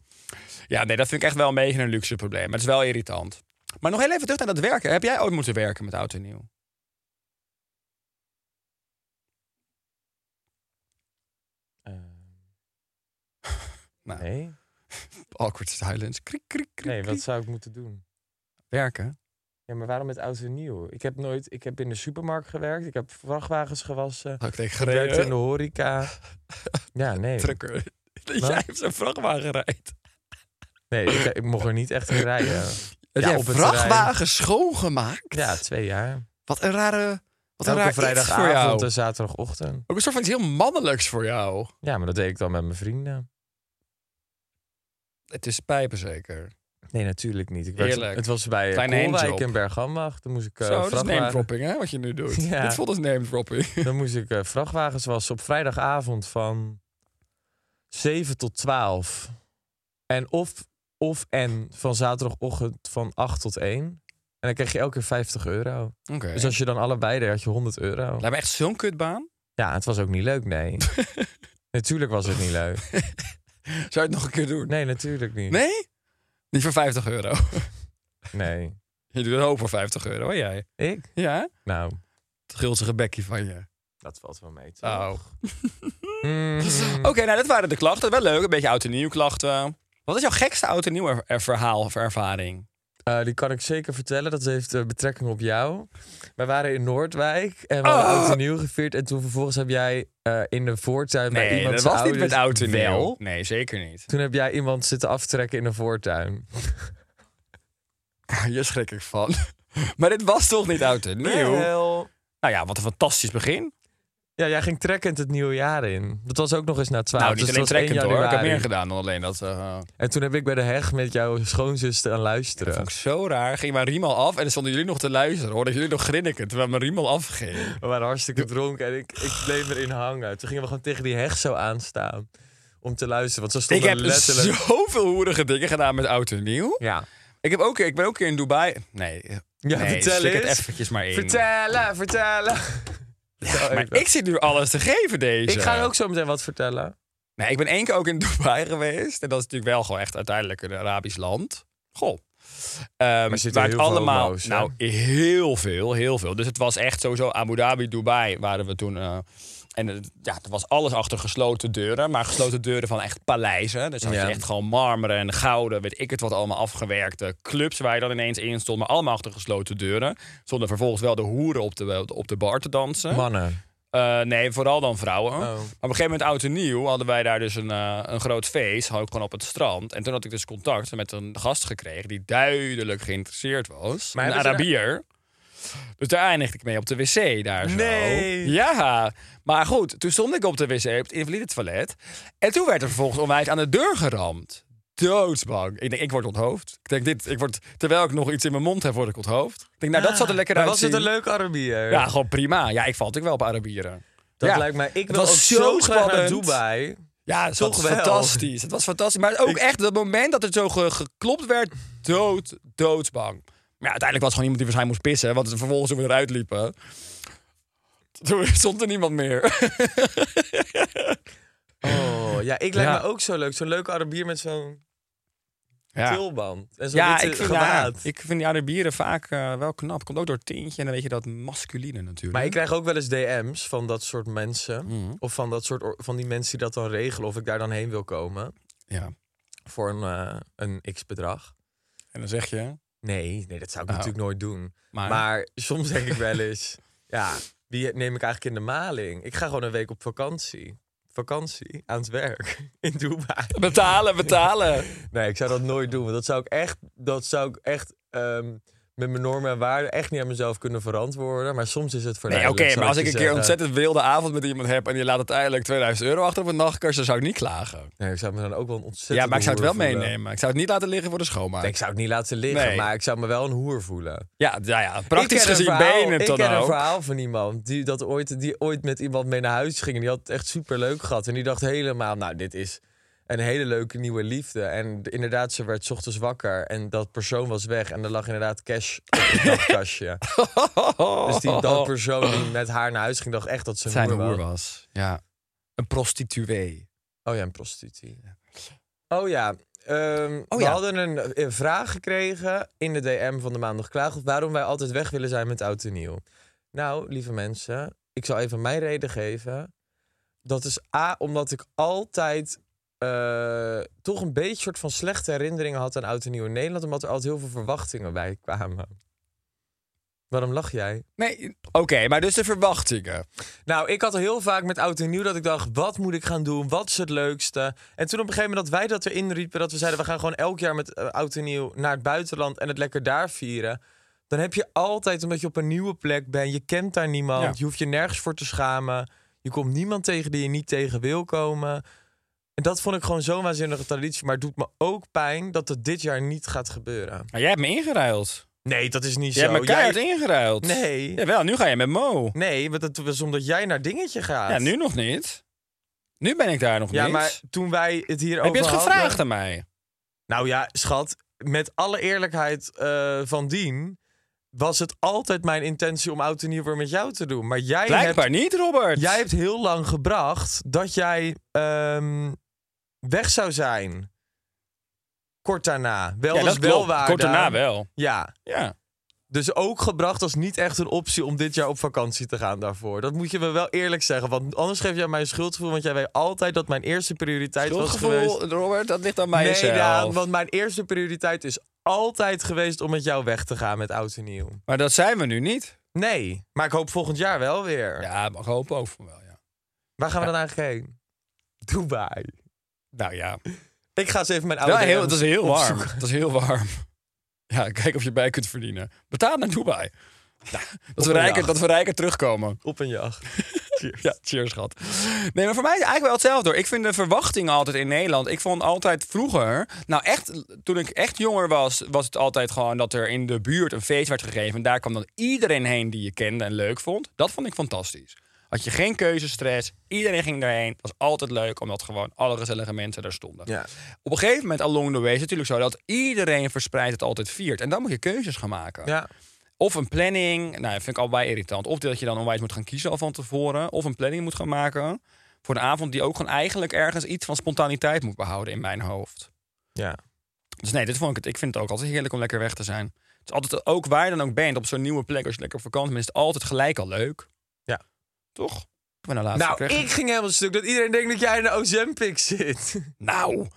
Ja, nee, dat vind ik echt wel een beetje een luxe probleem. Maar het is wel irritant. Maar nog heel even terug naar dat werken. Heb jij ooit moeten werken met oud en nieuw? Eh, Nou, nee? awkward silence. Kriek, kriek, kriek, Nee, wat kriek. zou ik moeten doen? Werken? Ja, maar waarom met oud en nieuw? Ik heb nooit... Ik heb in de supermarkt gewerkt. Ik heb vrachtwagens gewassen. Had ik tegen Ik werkte in de gereden. horeca. [laughs] Ja, nee. Trucker. [laughs] Dat Wat? jij op zo'n vrachtwagen rijdt. Nee, ik, ik mocht er niet echt in rijden. Dat Ja, jij op het vrachtwagen schoongemaakt? Ja, twee jaar. Wat een rare... Wat een raar Elke iets voor vrijdagavond jou. en zaterdagochtend. Ook een soort van iets heel mannelijks voor jou. Ja, maar dat deed ik dan met mijn vrienden. Het is pijpen zeker. Nee, natuurlijk niet. Ik werkte- Heerlijk. het was bij Kleine eh, Koolwijk handjob. en Bergambacht. Toen moest ik eh, Zo, dat is name vrachtwagen- dropping hè, wat je nu [laughs] doet. Ja. Dit voelt als name dropping. dan moest ik eh, vrachtwagens wassen op vrijdagavond van 7 tot 12. En of, of en van zaterdagochtend van 8 tot 1. En dan kreeg je elke keer 50 euro. [laughs] Oké. Dus als je dan allebei deed, had je 100 euro. Lijkt me echt zo'n kutbaan. Ja, het was ook niet [laughs] leuk, nee. natuurlijk was het niet leuk. Zou je het nog een keer doen? Nee, natuurlijk niet. Nee? Niet voor 50 euro. [laughs] Nee. je doet een hoop voor 50 euro, hè jij? Ik? Ja? Nou, Het gulzige bekje van je. dat valt wel mee. toch? [laughs] Oh. [laughs] Mm. Oké, nou dat waren de klachten. Wel leuk, een beetje oud en nieuw klachten. Wat is jouw gekste oud en nieuw er- er- verhaal of ervaring? Eh, die kan ik zeker vertellen. Dat heeft eh, betrekking op jou. Wij waren in Noordwijk en we hadden Oh! oud en nieuw gevierd. En toen vervolgens heb jij eh, in de voortuin bij iemand dat zijn was niet met ouders- oud en nieuw. Wel. Nee, zeker niet. Toen heb jij iemand zitten aftrekken in de voortuin. [laughs] Hier schrik ik van. Maar dit was toch niet oud en nieuw? Wel. Nou ja, wat een fantastisch begin. Ja, jij ging trekkend het nieuwe jaar in. Dat was ook nog eens na 12. Nou, niet dus alleen dat was 1 trekkend hoor. Ik heb januari. meer gedaan dan alleen dat. eh, En toen heb ik bij de heg met jouw schoonzuster aan luisteren. vond ik zo raar. Ging mijn riem al af en dan stonden jullie nog te luisteren. Hoorde ik jullie nog grinniken terwijl mijn riem al afging. We waren hartstikke dronken en ik, ik bleef erin hangen. Toen gingen we gewoon tegen die heg zo aanstaan om te luisteren. Want ze Ik stonden heb letterlijk... zoveel hoerige dingen gedaan met oud en nieuw. Ja. Ik, heb ook, ik ben ook een keer in Dubai. Nee, Ja, nee vertel slik het eens. eventjes maar in. Vertellen, vertellen. Vertel Maar even. ik zit nu alles te geven deze. ik ga ook zo meteen wat vertellen. Nee, ik ben één keer ook in [laughs] Dubai geweest. En dat is natuurlijk wel gewoon echt uiteindelijk een Arabisch land. Goh. Ehm er zitten waar heel het veel allemaal. homo's, hè? nou, heel veel, heel veel. Dus het was echt sowieso Abu Dhabi, Dubai waren we toen. eh, en het- ja, er was alles achter gesloten deuren. Maar gesloten deuren van echt paleizen. Dus had je Ja. echt gewoon marmeren en gouden, weet ik het wat allemaal afgewerkte clubs waar je dan ineens in stond. Maar allemaal achter gesloten deuren. Stonden vervolgens wel de hoeren op de, op de bar te dansen. Mannen. Eh, nee, vooral dan vrouwen. Maar op Oh. een gegeven moment, oud en nieuw, hadden wij daar dus een, eh, een groot feest. Had ik gewoon op het strand. En toen had ik dus contact met een gast gekregen die duidelijk geïnteresseerd was. Maar een hebben ze Arabier. Dus daar eindigde ik mee op de wc daar zo. Nee. Ja, maar goed, toen stond ik op de wc, op het invalide toilet. En toen werd er vervolgens onwijs aan de deur geramd. Doodsbang. Ik denk, ik word onthoofd. Ik denk, dit, ik word, terwijl ik nog iets in mijn mond heb, word ik onthoofd. Ik denk, nou, dat zat er lekker Ah. Maar uit. was het een leuk Arabier? Ja, gewoon prima. Ja, ik val natuurlijk wel op Arabieren. Dat Ja. lijkt mij... Ik Het wil ook was zo zo graag naar spannend. Dubai. Ja, het Toch was wel. fantastisch. Het was fantastisch. Maar ook echt het moment dat het zo ge- geklopt werd, dood, doodsbang. Maar ja, uiteindelijk was het gewoon iemand die waarschijnlijk moest pissen. Want vervolgens toen we eruit liepen, toen [laughs] stond er niemand meer. Oh, ja, ik lijkt Ja. me ook zo leuk. Zo'n leuke Arabier met zo'n tulband. En zo'n ja, witte ik vind, ja, eh, gewaad. ik vind die Arabieren vaak eh, wel knap. Komt ook door het tintje en dan weet je dat masculine natuurlijk. Maar ik krijg ook wel eens DM's van dat soort mensen. Mhm. Of van, dat soort, or- van die mensen die dat dan regelen. Of ik daar dan heen wil komen. Ja. Voor een, eh, een x-bedrag. En dan zeg je... Nee, nee, dat zou ik Oh. natuurlijk nooit doen. Maar- Maar... soms denk ik wel eens... [laughs] Ja, die neem ik eigenlijk in de maling. Ik ga gewoon een week op vakantie. Vakantie aan het werk [laughs] in Dubai. Betalen, [laughs] betalen. Nee, ik zou dat nooit doen. Want dat zou ik echt, dat zou ik echt ehm, met mijn normen en waarden echt niet aan mezelf kunnen verantwoorden. Maar soms is het Nee, oké, verleidelijk. zal maar als ik je een keer zeggen. ontzettend wilde avond met iemand heb... en die laat uiteindelijk 2000 euro achter op een nachtkast, dan zou ik niet klagen. Nee, ik zou me dan ook wel een ontzettend. Ja, maar ik zou het wel meenemen. Ik zou het niet laten liggen voor de schoonmaak. Ik zou het niet laten liggen, Nee. maar ik zou me wel een hoer voelen. Ja, ja, ja. praktisch Ik ken een gezien verhaal- benen Ik dan ken een ook. verhaal van iemand die, dat ooit, die ooit met iemand mee naar huis ging. En die had het echt superleuk gehad. En die dacht helemaal, nou, dit is een hele leuke nieuwe liefde. En d- inderdaad, ze werd 's ochtends wakker en dat persoon was weg. En er lag inderdaad cash op [laughs] het nachtkastje. Dus die dat persoon die met haar naar huis ging, dacht echt dat ze een Oh. zijn hoer hoer was. was. Ja. Een prostituee. Oh ja, een prostitutie. Oh ja. ehm, we ja. hadden een, eh, vraag gekregen in de DM van de Maandag Klaag... of waarom wij altijd weg willen zijn met Oud en Nieuw. Nou, lieve mensen, ik zal even mijn reden geven. Dat is A, omdat ik altijd eh, toch een beetje soort van slechte herinneringen had aan Oud en Nieuw in Nederland... omdat er altijd heel veel verwachtingen bij kwamen. Waarom lach jij? Nee, oké, maar dus de verwachtingen. Nou, ik had heel vaak met oud en nieuw dat ik dacht: wat moet ik gaan doen? Wat is het leukste? En toen op een gegeven moment dat wij dat erin riepen, dat we zeiden: we gaan gewoon elk jaar met eh, oud en nieuw naar het buitenland en het lekker daar vieren. Dan heb je altijd, omdat je op een nieuwe plek bent, je kent daar niemand, Ja. je hoeft je nergens voor te schamen. Je komt niemand tegen die je niet tegen wil komen. En dat vond ik gewoon zo'n waanzinnige traditie. Maar het doet me ook pijn dat het dit jaar niet gaat gebeuren. Maar jij hebt me ingeruild. Nee, dat is niet Jij zo. hebt me keihard Jij- ingeruild. Nee. Jawel, nu ga je met Mo. Nee, want dat was omdat jij naar dingetje gaat. Ja, nu nog niet. Nu ben ik daar nog Ja, niet. maar toen wij het hier Heb over je het hadden- gevraagd aan mij? Nou ja, schat, met alle eerlijkheid eh, van dien... was het altijd mijn intentie om oud en nieuw weer met jou te doen. Maar jij, hebt, Blijkbaar niet, Robert. jij hebt heel lang gebracht dat jij ehm, weg zou zijn. Kort daarna. Wel ja, als dat klopt. welwaarde. Kort daarna wel. Ja, Ja. dus ook gebracht als niet echt een optie om dit jaar op vakantie te gaan daarvoor. Dat moet je me wel eerlijk zeggen. Want anders geef jij mij een schuldgevoel. Want jij weet altijd dat mijn eerste prioriteit was geweest... Schuldgevoel, Robert, dat ligt aan mij Nee, Daan, want mijn eerste prioriteit is altijd geweest om met jou weg te gaan met oud en nieuw. Maar dat zijn we nu niet. Nee, maar ik hoop volgend jaar wel weer. Ja, mag hopen ook van wel, ja. Waar gaan we dan eigenlijk heen? Dubai. Nou ja. Ik ga eens even mijn Ja, oude heel, DM's dat is heel warm. opzoeken. Dat is heel warm. Ja, kijk of je bij kunt verdienen. Betaal naar Dubai. Ja, dat, we een rijker, jacht. dat we rijker terugkomen. Op een jacht. Cheers. [laughs] Ja, cheers, schat. Nee, maar voor mij is het eigenlijk wel hetzelfde hoor. Ik vind de verwachtingen altijd in Nederland. Ik vond altijd vroeger, nou echt, toen ik echt jonger was, was het altijd gewoon dat er in de buurt een feest werd gegeven. En daar kwam dan iedereen heen die je kende en leuk vond. Dat vond ik fantastisch. Had je geen keuzestress, iedereen ging daarheen. Het was altijd leuk, omdat gewoon alle gezellige mensen daar stonden. Ja. Op een gegeven moment along the way is het natuurlijk zo dat iedereen verspreid het altijd viert. En dan moet je keuzes gaan maken. Ja. Of een planning. Nou, dat vind ik allebei irritant. Of dat je dan onwijs moet gaan kiezen al van tevoren. Of een planning moet gaan maken. Voor een avond die ook gewoon eigenlijk ergens iets van spontaniteit moet behouden in mijn hoofd. ja. Dus nee, dit vond ik het. Ik vind het ook altijd heerlijk om lekker weg te zijn. Het is altijd ook waar je dan ook bent. Op zo'n nieuwe plek, als je lekker op vakantie bent, is het altijd gelijk al leuk. Ja. Toch? Ik ben nou laatst Nou, gekregen. ik ging helemaal stuk dat iedereen denkt dat jij in de Ozempic zit. [laughs] Nou,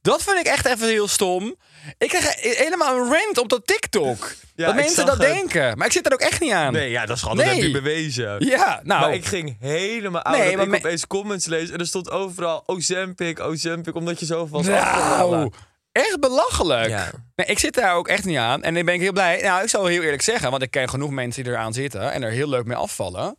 dat vind ik echt even heel stom. Ik krijg he- helemaal een rant op dat TikTok. Ja, dat ik mensen zag dat het. denken. Maar ik zit er ook echt niet aan. Nee, ja, dat is gewoon dat Nee. heb je bewezen. Ja, nou. Maar ik ging helemaal uit Nee, dat maar ik me- opeens comments lees en er stond overal Ozempic, Ozempic, omdat je zo was Nou, afgevallen. echt belachelijk. Ja. Nee, ik zit daar ook echt niet aan. En ik ben ik heel blij. Nou, ik zal heel eerlijk zeggen, want ik ken genoeg mensen die eraan zitten en er heel leuk mee afvallen.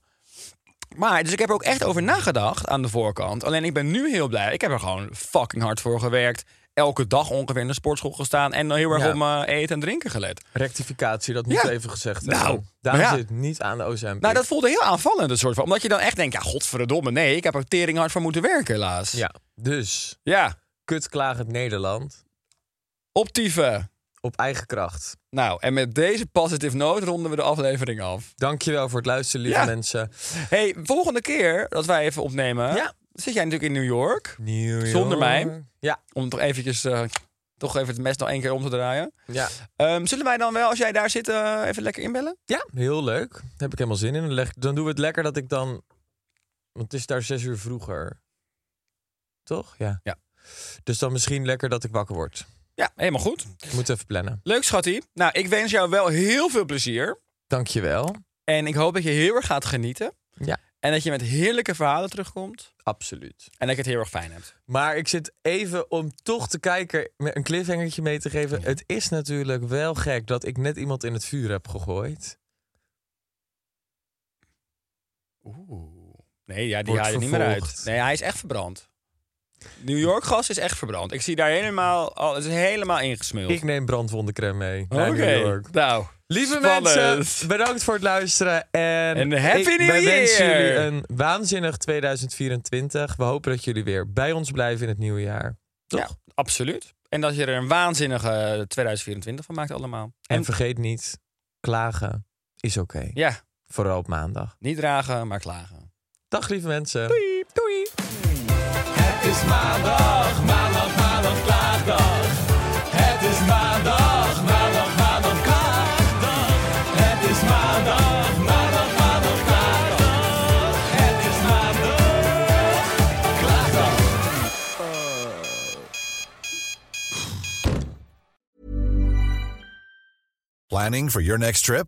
Maar, dus ik heb er ook echt over nagedacht aan de voorkant. Alleen ik ben nu heel blij. Ik heb er gewoon fucking hard voor gewerkt. Elke dag ongeveer in de sportschool gestaan. En dan heel erg Ja. op mijn eten en drinken gelet. Rectificatie, dat moet Ja. even gezegd Nou, worden. maar Daarom ja. zit het niet aan de Ozempic. Nou, dat voelde heel aanvallend, een soort van. Omdat je dan echt denkt, ja, godverdomme, nee. Ik heb er tering hard voor moeten werken, helaas. Ja, dus ja. kutklagend Nederland optieven. op eigen kracht. Nou, en met deze positive note ronden we de aflevering af. Dankjewel voor het luisteren, lieve Ja. mensen. Hey, volgende keer dat wij even opnemen, Ja. zit jij natuurlijk in New York. New Zonder mij. York. Ja, Om toch eventjes, eh, toch even het mes nog één keer om te draaien. ja. Ehm, zullen wij dan wel, als jij daar zit, eh, even lekker inbellen? Ja, heel leuk. Daar heb ik helemaal zin in. Dan, leg- dan doen we het lekker dat ik dan... Want het is daar zes uur vroeger. Toch? Ja. Ja. Dus dan misschien lekker dat ik wakker word. Ja, helemaal goed. Moet even plannen. Leuk, schattie. Nou, ik wens jou wel heel veel plezier. Dankjewel. En ik hoop dat je heel erg gaat genieten. Ja. En dat je met heerlijke verhalen terugkomt. Absoluut. En dat je het heel erg fijn hebt. Maar ik zit even om toch te kijken, met een cliffhangertje mee te Mhm. geven. Het is natuurlijk wel gek dat ik net iemand in het vuur heb gegooid. Oeh. Nee, ja, die Wordt haal je niet meer uit. vervolgd. Nee, hij is echt verbrand. New York gas is echt verbrand. Ik zie daar helemaal, al, het is helemaal ingesmeeld. Ik neem brandwondencrème mee Oké, naar New York. nou. Lieve spannend. mensen, bedankt voor het luisteren. En, En happy ik, new wij wensen year. jullie een waanzinnig 2024. We hopen dat jullie weer bij ons blijven in het nieuwe jaar. Toch? Ja, absoluut. En dat je er een waanzinnige 2024 van maakt allemaal. En, vergeet niet, klagen is oké. ja, Vooral op maandag. niet dragen, maar klagen. Dag lieve mensen. Doei. Het is maandag, maandag, maandag, klaagdag. Het is maandag, maandag, maandag, klaagdag. Het is maandag, maandag, maandag, klaagdag. Het is maandag, klaagdag. Planning for your next trip?